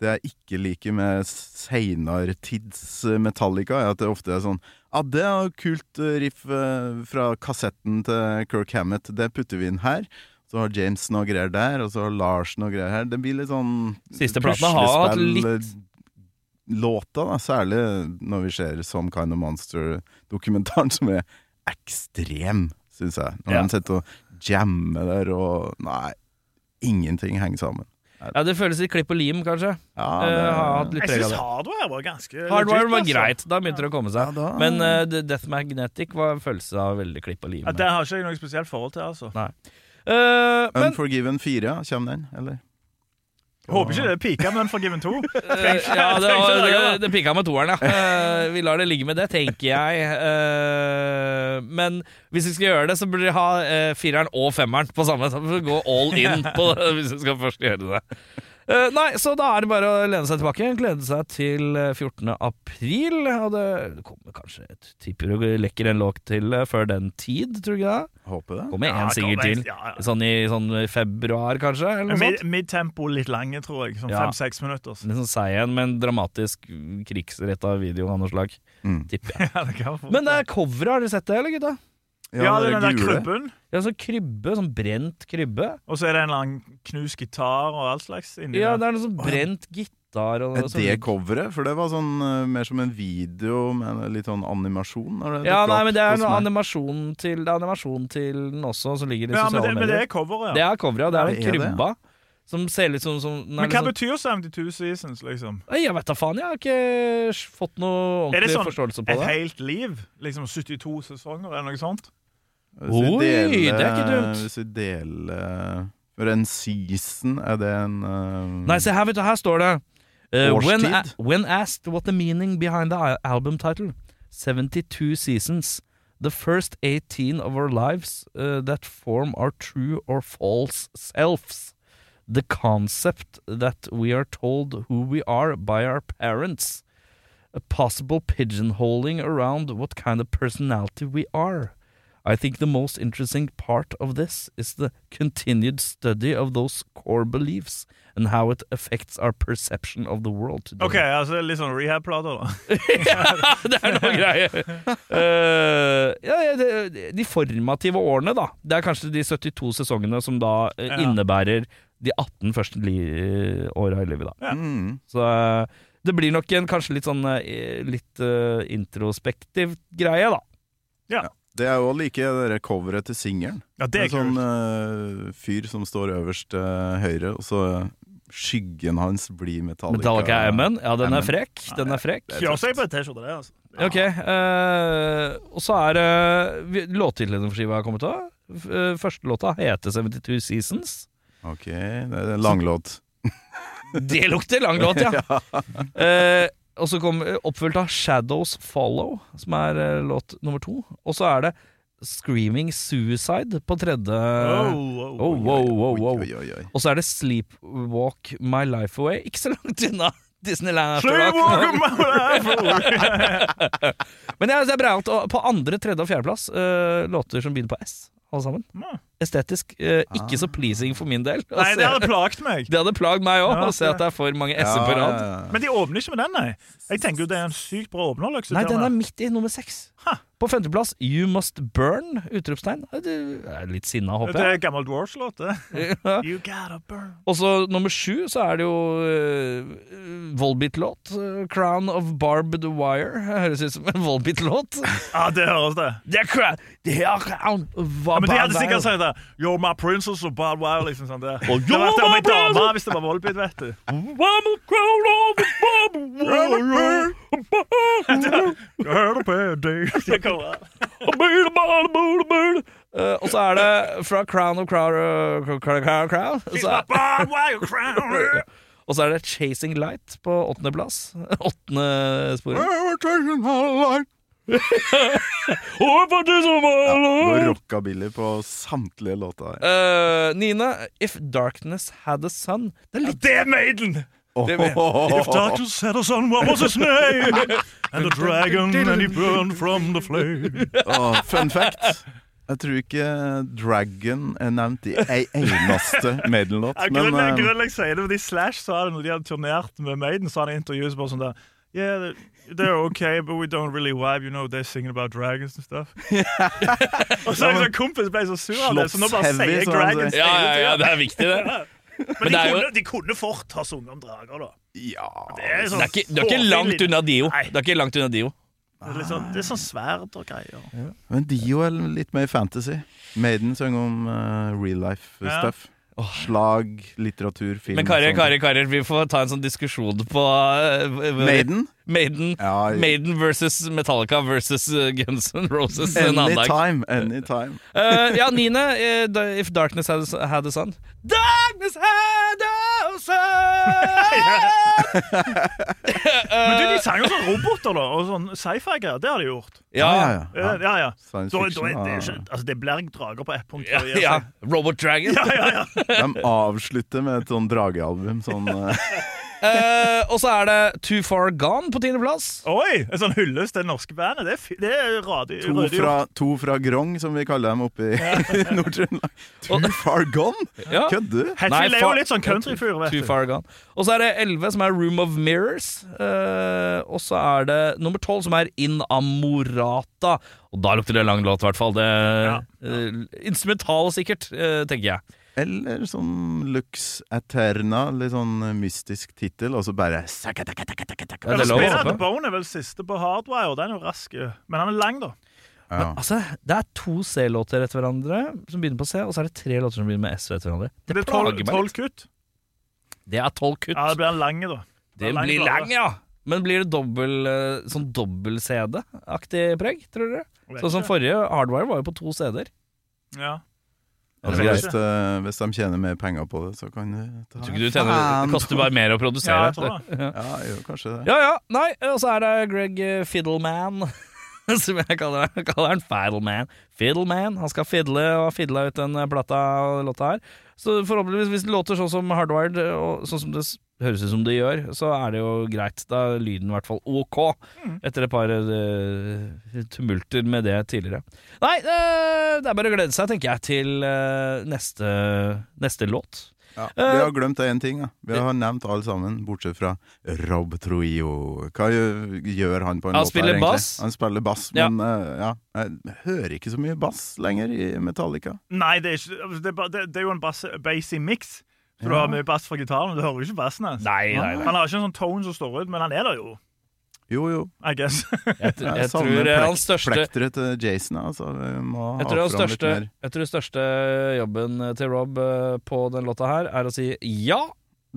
[SPEAKER 3] det jeg ikke liker med seinere tids Metallica, er at det ofte er sånn Ja, det er et kult riff eh, fra kassetten til Kirk Hammett, det putter vi inn her. Så har James noe greier der, og så har Lars noe greier her. Det blir litt sånn
[SPEAKER 1] Siste platene har hatt
[SPEAKER 3] puslespill,
[SPEAKER 1] litt-
[SPEAKER 3] låta, da, særlig når vi ser Some Kind of Monster-dokumentaren, som er ekstrem, syns jeg. Når
[SPEAKER 1] Ja.
[SPEAKER 3] de sitter og jammer der og Nei, ingenting henger sammen.
[SPEAKER 1] Ja, det føles litt klipp og lim, kanskje.
[SPEAKER 3] Ja,
[SPEAKER 1] Eh, har hatt
[SPEAKER 3] det,
[SPEAKER 1] litt
[SPEAKER 2] Jeg
[SPEAKER 1] preg av
[SPEAKER 2] syns
[SPEAKER 1] det.
[SPEAKER 2] hardware var ganske
[SPEAKER 1] Hardwire
[SPEAKER 2] legit,
[SPEAKER 1] var
[SPEAKER 2] altså.
[SPEAKER 1] greit, da begynte det å komme
[SPEAKER 3] ja,
[SPEAKER 1] seg.
[SPEAKER 3] da,
[SPEAKER 1] Men eh, The Death Magnetic var en følelse av veldig klipp og lim.
[SPEAKER 2] Ja, det har ikke jeg noe spesielt forhold til, altså.
[SPEAKER 1] Eh, men
[SPEAKER 3] Unforgiven 4, kommer den, eller?
[SPEAKER 2] Håper ikke det piker med den fra
[SPEAKER 1] *laughs*
[SPEAKER 2] Given 2.
[SPEAKER 1] eh,
[SPEAKER 2] *laughs*
[SPEAKER 1] ja, det,
[SPEAKER 2] Tenk
[SPEAKER 1] var-
[SPEAKER 2] ikke det, da.
[SPEAKER 1] det, det pika med
[SPEAKER 2] *laughs*
[SPEAKER 1] toeren, ja. Eh, vi lar det ligge med det, tenker jeg. Eh, men hvis vi skal gjøre det, så burde vi ha eh, fireren og femmeren på samme. Så vi får gå all
[SPEAKER 2] *laughs*
[SPEAKER 1] in på det, hvis vi skal først gjøre det. Eh, nei, så da er det bare å lene seg tilbake. Glede seg til eh, 14. april. Og det kommer kanskje et tipper og lekker en låt til eh, før den tid, tror du ikke det?
[SPEAKER 3] Håper det.
[SPEAKER 1] Kommer
[SPEAKER 2] Ja,
[SPEAKER 1] én singel
[SPEAKER 2] kommer
[SPEAKER 1] til.
[SPEAKER 2] en- ja, ja.
[SPEAKER 1] Sånn i sånn februar, kanskje? Eller noe
[SPEAKER 2] Mid-
[SPEAKER 1] sånt.
[SPEAKER 2] Midtempo, litt lange, tror jeg. Sånn
[SPEAKER 1] Ja.
[SPEAKER 2] fem-seks minutter. så. *laughs*
[SPEAKER 1] Litt sånn seig en, men dramatisk krigsretta video av noe slag.
[SPEAKER 3] Mm.
[SPEAKER 1] Tipper jeg.
[SPEAKER 2] Ja, det kan jeg få.
[SPEAKER 1] Men det er coveret, har dere sett det, eller gutta?
[SPEAKER 2] ja, det
[SPEAKER 3] det
[SPEAKER 2] er den der
[SPEAKER 3] gule.
[SPEAKER 2] krybben,
[SPEAKER 1] Det er sånn krybbe, sånn brent krybbe.
[SPEAKER 2] og så er det en eller annen knust gitar og all slags inni
[SPEAKER 1] Ja,
[SPEAKER 2] der.
[SPEAKER 1] det er noe sånn brent gitar og
[SPEAKER 3] Er
[SPEAKER 1] sånn.
[SPEAKER 3] det coveret? For det var sånn eh, mer som en video med en litt sånn animasjon. når det
[SPEAKER 1] Ja,
[SPEAKER 3] dukket
[SPEAKER 1] nei,
[SPEAKER 3] opp
[SPEAKER 1] men det er
[SPEAKER 3] hos
[SPEAKER 1] noe
[SPEAKER 3] meg.
[SPEAKER 1] animasjon til, det er animasjon til den også, som ligger i
[SPEAKER 2] Ja, men
[SPEAKER 1] sosiale
[SPEAKER 2] det, men det
[SPEAKER 1] medier.
[SPEAKER 2] er coveret,
[SPEAKER 1] Det
[SPEAKER 2] ja.
[SPEAKER 1] er coveret, ja. Det
[SPEAKER 3] Det
[SPEAKER 1] er
[SPEAKER 3] er det,
[SPEAKER 1] den
[SPEAKER 3] ja.
[SPEAKER 1] krybba som ser litt sånn, sånn
[SPEAKER 2] Men hva betyr 72 Seasons, liksom?
[SPEAKER 1] Nei, Jeg vet da faen, jeg har ikke s- fått noe
[SPEAKER 2] Er
[SPEAKER 1] ordentlig
[SPEAKER 2] det sånn
[SPEAKER 1] forståelse på
[SPEAKER 2] Et
[SPEAKER 1] det.
[SPEAKER 2] helt liv? Liksom 72 sesonger, eller noe sånt?
[SPEAKER 3] Hvis vi
[SPEAKER 1] Oi, det er ikke dumt.
[SPEAKER 3] Hvis vi deler For en eh, season, er det en eh,
[SPEAKER 1] Nei, se her, vet du, her står det Eh, when,
[SPEAKER 3] Årstid?
[SPEAKER 1] a- when asked what the meaning behind the al- album title, 72 seasons, the first 18 of our lives eh, that form our true or false selves. The concept that we are told who we are by our parents. A possible pigeonholing around what kind of personality we are. I think the most interesting part of this is the continued study of those core beliefs and how it affects our perception of the world today.
[SPEAKER 2] OK, altså det er litt sånn rehab-plate, da.
[SPEAKER 1] *laughs*
[SPEAKER 2] *laughs*
[SPEAKER 1] det er noe greier. Eh, ja, ja, det- de formative årene, da. Det er kanskje de 72 sesongene som da eh,
[SPEAKER 2] Ja.
[SPEAKER 1] innebærer de 18 første li åra i livet, da.
[SPEAKER 3] Mm.
[SPEAKER 1] Så eh, det blir nok en kanskje litt sånn eh, litt eh, introspektiv greie, da.
[SPEAKER 3] Det er jo like det der coveret til singelen.
[SPEAKER 2] Ja, det er
[SPEAKER 3] En sånn
[SPEAKER 2] kult.
[SPEAKER 3] eh, fyr som står øverst eh, høyre, og så skyggen hans blir Metallica.
[SPEAKER 1] Metallica Amon. Ja, den er
[SPEAKER 3] Amon.
[SPEAKER 1] frekk. Den er frekk.
[SPEAKER 2] Kjører på en T-skjorte, det, altså.
[SPEAKER 1] Ok, eh, og så er det uh, låttitlene for skiva har kommet av. F- eh, første låta heter 72 Seasons.
[SPEAKER 3] Ok, det er en langlåt.
[SPEAKER 1] Det lukter lang låt, *laughs* ja. Eh, og så kom eh, oppfylt av Shadows Follow, som er eh, låt nummer to. Og så er det Screaming Suicide på tredje.
[SPEAKER 2] Oh,
[SPEAKER 1] Oh,
[SPEAKER 2] oh.
[SPEAKER 1] wow, wow, wow.
[SPEAKER 3] Oi, oi, oi.
[SPEAKER 1] Og så er det Sleepwalk My Life Away. Ikke så langt unna *laughs* Disneyland. After Dark.
[SPEAKER 2] Sleepwalk my
[SPEAKER 1] *laughs*
[SPEAKER 2] life away.
[SPEAKER 1] Men jeg, det er bra at å- på andre, tredje og fjerdeplass eh, låter som begynner på S, alle sammen.
[SPEAKER 2] Ja.
[SPEAKER 1] Estetisk eh, ikke så pleasing for min del.
[SPEAKER 2] Nei, det hadde
[SPEAKER 1] *laughs* det,
[SPEAKER 2] plaget meg.
[SPEAKER 1] hadde plagd meg òg,
[SPEAKER 2] Ja,
[SPEAKER 1] å se at det er for mange S-er på rad.
[SPEAKER 2] Men de åpner ikke med den, nei. Jeg tenker jo det er en sykt bra åpner. Liksom,
[SPEAKER 1] Nei, den er midt i nummer seks.
[SPEAKER 2] Ha.
[SPEAKER 1] På femteplass You Must Burn! Utropstegn. Eh, Det er litt sinna,
[SPEAKER 2] Det
[SPEAKER 1] håper jeg.
[SPEAKER 2] er gammel Dwarfs-låt, det.
[SPEAKER 1] Ja.
[SPEAKER 2] You gotta burn.
[SPEAKER 1] Og så nummer sju så er det jo uh, Volbeat-låt. eh, 'Crown of Barbed Wire'. Høres ut som en Volbeat-låt.
[SPEAKER 2] Ja, det høres det.
[SPEAKER 1] Det er cra- det er crown of
[SPEAKER 2] Ja, men de
[SPEAKER 1] barbed
[SPEAKER 2] hadde sikkert
[SPEAKER 1] wire.
[SPEAKER 2] sagt det. You're my princess og Bob Wow, liksom sånn det.
[SPEAKER 1] Og
[SPEAKER 2] det
[SPEAKER 1] you're
[SPEAKER 2] hadde vært om
[SPEAKER 1] my
[SPEAKER 2] ei dame
[SPEAKER 1] princess.
[SPEAKER 2] hvis det var Volbeat, vet du.
[SPEAKER 1] I'm a crown of a barbed wire. *laughs*
[SPEAKER 2] Gotta pay a day. Det kommer an.
[SPEAKER 1] Eh, og så er det fra 'Crown of Crown, eh, crown, crown, crown
[SPEAKER 2] She's
[SPEAKER 1] så er,
[SPEAKER 2] my Bob Wow crown.
[SPEAKER 1] *laughs* Og så er det 'Chasing Light' på åttendeplass. *laughs* Åttende sporet.
[SPEAKER 3] Nå rockabilly på samtlige låter her.
[SPEAKER 1] Eh, Nina, If Darkness Had a Sun *laughs* Det er litt
[SPEAKER 2] Det er Maiden! *laughs* If
[SPEAKER 3] Åhåhåhå.
[SPEAKER 2] darkness had a son, what was his name? And the dragon, and he burned from the flame.
[SPEAKER 3] Åh, Fun fact. Jeg tror ikke Dragon er nevnt i ei eneste
[SPEAKER 2] *laughs*
[SPEAKER 3] Maiden-låt.
[SPEAKER 2] Ja,
[SPEAKER 3] Men
[SPEAKER 2] grunnen,
[SPEAKER 3] eh,
[SPEAKER 2] grunnen jeg sier det, fordi Slash sa det når de hadde turnert med Maiden, sa han i intervjuet bare sånn der Yeah, they're okay, but we don't really vibe, you know, they're singing about dragons and
[SPEAKER 3] *laughs*
[SPEAKER 2] stuff. *laughs* og så er det sånn kompis ble så sur av det, så nå bare
[SPEAKER 3] Slottsheavy,
[SPEAKER 2] sier jeg
[SPEAKER 3] som han
[SPEAKER 2] dragons.
[SPEAKER 3] sier.
[SPEAKER 2] hele tiden.
[SPEAKER 1] er viktig,
[SPEAKER 2] *laughs*
[SPEAKER 1] det.
[SPEAKER 2] Men
[SPEAKER 1] det
[SPEAKER 2] de
[SPEAKER 1] er jo-
[SPEAKER 2] kunne, de kunne fort ha sunget om drager, da.
[SPEAKER 3] ja
[SPEAKER 2] Det er, sånn
[SPEAKER 1] Det er ikke, det er ikke
[SPEAKER 2] hårfin
[SPEAKER 1] langt
[SPEAKER 2] liten-
[SPEAKER 1] unna Dio.
[SPEAKER 2] Nei.
[SPEAKER 1] Det er ikke langt unna Dio.
[SPEAKER 2] Det er litt sånn, det er sånn sverd og greier.
[SPEAKER 3] Men Dio er litt mer fantasy. Maiden sang om eh, real life
[SPEAKER 2] Ja.
[SPEAKER 3] stuff. Slag, litteratur, film
[SPEAKER 1] Men Kari,
[SPEAKER 3] sånn.
[SPEAKER 1] Kari, Kari, vi får ta en sånn diskusjon på eh,
[SPEAKER 3] Maiden?
[SPEAKER 1] Maiden,
[SPEAKER 3] Ja,
[SPEAKER 1] Maiden versus Metallica versus eh, Guns N' Roses en annen dag.
[SPEAKER 3] anytime, anytime.
[SPEAKER 1] Eh, ja, Nina, eh, da- If Darkness Had, a- had a Sun. Darkness had a sun!
[SPEAKER 2] Men du, de sang jo sånn roboter, da, og sånn sci-fi-greier. Det har de gjort.
[SPEAKER 3] *laughs* Ja,
[SPEAKER 1] ja,
[SPEAKER 3] ja, ja.
[SPEAKER 2] Ja, ja. ja.
[SPEAKER 3] Science
[SPEAKER 2] Da, da,
[SPEAKER 3] fiction.
[SPEAKER 2] er det,
[SPEAKER 3] ja.
[SPEAKER 2] ikke, altså, det blir drager på ett punkt.
[SPEAKER 1] ja,
[SPEAKER 2] og det gir
[SPEAKER 1] ja.
[SPEAKER 2] seg.
[SPEAKER 1] Robot Dragon.
[SPEAKER 3] De avslutter med et sånn dragealbum. Sånn,
[SPEAKER 1] *laughs*
[SPEAKER 3] eh,
[SPEAKER 1] Eh, og så er det Too Far Gone på tiendeplass.
[SPEAKER 2] Oi! En sånn hyllest til det norske bandet. Det er, fi- det er radig,
[SPEAKER 3] to,
[SPEAKER 2] ryddig
[SPEAKER 3] fra,
[SPEAKER 2] gjort.
[SPEAKER 3] to fra Grong, som vi kaller dem oppe *laughs* i Nord-Trøndelag. Too far gone?
[SPEAKER 1] Ja.
[SPEAKER 3] Kødder du?
[SPEAKER 1] Nei,
[SPEAKER 2] Hetfield er
[SPEAKER 1] fa-
[SPEAKER 2] jo litt sånn countryfyr, vet
[SPEAKER 1] Too
[SPEAKER 2] du.
[SPEAKER 1] far gone Og så er det 11 som er Room of Mirrors eh, Og så er det nummer 12 som er In Amorata Og da lukter det lang låt i hvert fall det, eh, Instrumental sikkert, eh, tenker jeg
[SPEAKER 3] Eller som Lux Aterna, litt sånn mystisk tittel, og så bare
[SPEAKER 1] Ja, det er lov å
[SPEAKER 2] Spinner
[SPEAKER 1] håpe.
[SPEAKER 2] at Bone er vel siste på Hardwire, og den er jo rask. Men han er lang, da.
[SPEAKER 3] ja.
[SPEAKER 1] Altså, det er to C-låter etter hverandre Som begynner på C, og så er det tre låter som begynner med S etter hverandre Det,
[SPEAKER 2] Det er tolv
[SPEAKER 1] plager meg
[SPEAKER 2] tolv
[SPEAKER 1] litt
[SPEAKER 2] kutt.
[SPEAKER 1] Det er 12 kutt
[SPEAKER 2] Ja, det blir en lang, da.
[SPEAKER 1] Det
[SPEAKER 2] er lang altså.
[SPEAKER 1] blir
[SPEAKER 2] plate.
[SPEAKER 1] lang, ja Men blir det dobbel, eh, sånn dobbel-CD-aktig preg, tror dere?
[SPEAKER 2] Jeg vet
[SPEAKER 1] Sånn som
[SPEAKER 2] ikke.
[SPEAKER 1] forrige Hardwire var jo på to CD-er
[SPEAKER 2] Ja.
[SPEAKER 3] Altså,
[SPEAKER 1] Ja,
[SPEAKER 3] hvis, eh, hvis de tjener mer penger på det, så kan de ta
[SPEAKER 1] Tror ikke du tjener, det koster bare mer å produsere.
[SPEAKER 2] Ja, altså, jeg tror det.
[SPEAKER 3] Ja, jo, kanskje det.
[SPEAKER 1] Ja, ja, nei, og så er det Greg eh, Fiddleman *laughs* Som jeg kaller han Kaller han Fiddleman Fiddleman, han skal fiddle og har fiddla ut den eh, plata og låta her Så forhåpentligvis hvis det låter sånn som Hardwired Og sånn som det s- høres ut som det gjør Så er det jo greit, da er lyden i hvert fall ok
[SPEAKER 2] Mm.
[SPEAKER 1] Etter et par eh, tumulter med det tidligere Nei, eh, det er bare å glede seg, tenker jeg Til eh, neste, neste låt
[SPEAKER 3] Ja. Vi
[SPEAKER 1] Eh,
[SPEAKER 3] har glemt én ting. Da. Vi har nevnt alle sammen, bortsett fra Rob Troio. Hva gjø- gjør han på en
[SPEAKER 1] Han
[SPEAKER 3] låt
[SPEAKER 1] spiller
[SPEAKER 3] her, egentlig?
[SPEAKER 1] bass.
[SPEAKER 3] Han spiller bass,
[SPEAKER 1] Ja.
[SPEAKER 3] men eh, ja. jeg hører ikke så mye bass lenger i Metallica.
[SPEAKER 2] Nei, det er, ikke, altså, det, er, bare- det, det er jo en bass, bassy mix. Så du
[SPEAKER 3] Ja.
[SPEAKER 2] har mye bass fra gitaren. Du hører jo ikke bassen hans.
[SPEAKER 1] Nei, nei, nei
[SPEAKER 2] Han har ikke en sånn tone som står ut, men han er der jo.
[SPEAKER 3] Jo, jo.
[SPEAKER 2] I guess.
[SPEAKER 1] Jeg,
[SPEAKER 2] *laughs*
[SPEAKER 3] Jeg,
[SPEAKER 1] jeg tror
[SPEAKER 3] savner
[SPEAKER 1] eh,
[SPEAKER 3] plek-
[SPEAKER 1] hans største
[SPEAKER 3] plekteret til Jason. Altså. Vi må
[SPEAKER 1] Jeg
[SPEAKER 3] ha
[SPEAKER 1] tror, den
[SPEAKER 3] fram litt
[SPEAKER 1] største,
[SPEAKER 3] mer.
[SPEAKER 1] jeg tror den største jobben til Rob eh, på den låta her er å si ja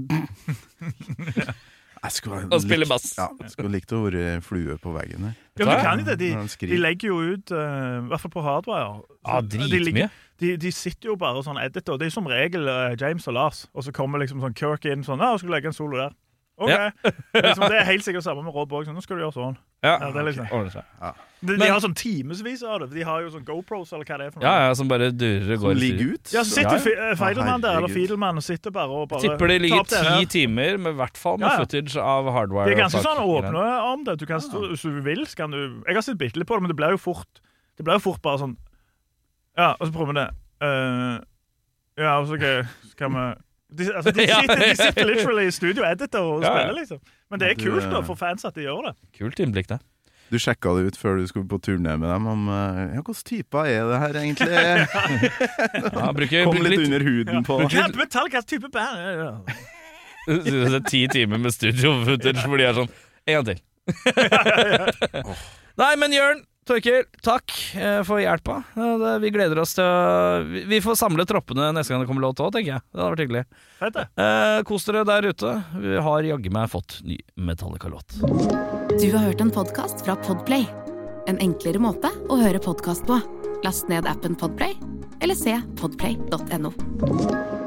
[SPEAKER 3] Jeg skulle ha
[SPEAKER 1] og spille
[SPEAKER 3] likt-
[SPEAKER 1] bass.
[SPEAKER 3] Ja, jeg skulle likt å være flue på veggen her.
[SPEAKER 2] Ja, men du kan jo det. De,
[SPEAKER 3] Når han skriver.
[SPEAKER 2] de legger jo ut, eh, i hvert fall på hardwire
[SPEAKER 1] Ja,
[SPEAKER 2] de, ligger-
[SPEAKER 1] dritmye.
[SPEAKER 2] de, de sitter jo bare og sånn editor. Det er som regel eh, James og Lars. Og så kommer liksom sånn Kirk inn sånn 'Ja, jeg skulle legge en solo der.' OK.
[SPEAKER 1] Ja.
[SPEAKER 2] *laughs* liksom, det er helt sikkert samme med Rob òg. Sånn, 'Nå skal du gjøre sånn.'
[SPEAKER 1] Ja,
[SPEAKER 2] Ja, det er liksom-
[SPEAKER 1] ordner seg.
[SPEAKER 2] De, de
[SPEAKER 1] Men-
[SPEAKER 2] har sånn timevis av det. for De har jo sånn GoPros eller hva det er. for noe.
[SPEAKER 1] Ja, ja, som bare durer og går. i styr.
[SPEAKER 3] Ligge ut.
[SPEAKER 2] Ja, så sitter
[SPEAKER 3] Ja,
[SPEAKER 2] Fi- eh, Feidelmann der, eller
[SPEAKER 3] herregud.
[SPEAKER 2] Fiedelmann, og sitter bare og bare
[SPEAKER 1] Tipper det
[SPEAKER 2] Ta
[SPEAKER 1] ligger
[SPEAKER 2] opp
[SPEAKER 1] ti
[SPEAKER 2] her.
[SPEAKER 1] timer med i hvert fall med
[SPEAKER 2] Ja, ja.
[SPEAKER 1] footage av hardware.
[SPEAKER 2] De er ganske
[SPEAKER 1] og
[SPEAKER 2] sånn
[SPEAKER 1] tak-
[SPEAKER 2] åpne om det. Du kan, stå- hvis du vil, så kan du Jeg har sett bitte litt på det, men det blir jo fort Det blir jo fort bare sånn Ja, og så prøver vi det. Eh, ja, og så ok, så kan vi de, altså, de,
[SPEAKER 1] *laughs* Ja.
[SPEAKER 2] sitter, de sitter literally i studio og editor og
[SPEAKER 1] Ja, ja.
[SPEAKER 2] spiller, liksom. Men det er
[SPEAKER 3] Du,
[SPEAKER 2] kult da
[SPEAKER 3] eh,
[SPEAKER 2] for fans at de gjør det.
[SPEAKER 1] Kult innblikk, det.
[SPEAKER 3] Du sjekka det ut før du skulle på turné med dem om eh, ja, hvilke typer er det her
[SPEAKER 2] *laughs*
[SPEAKER 3] egentlig?
[SPEAKER 1] Ja, bruker,
[SPEAKER 3] Kom
[SPEAKER 1] bruker
[SPEAKER 3] litt
[SPEAKER 1] litt
[SPEAKER 3] under huden på
[SPEAKER 2] Ja, Metallica er type band. ja, ja.
[SPEAKER 1] Så det er ti timer med studio footage hvor de er sånn En gang til. *laughs* Nei, men Jørn Torkil, takk eh, for hjelpa. Eh, det- Vi gleder oss til å vi- Vi får samle troppene neste gang det kommer låt òg, tenker jeg. Det hadde vært hyggelig.
[SPEAKER 2] Fett, det.
[SPEAKER 1] Eh, kos dere der ute. Vi har jaggu meg fått ny Metallica-låt.
[SPEAKER 7] Du har hørt en podcast fra Podplay. En enklere måte å høre podcast på. Last ned appen Podplay, eller se podplay.no.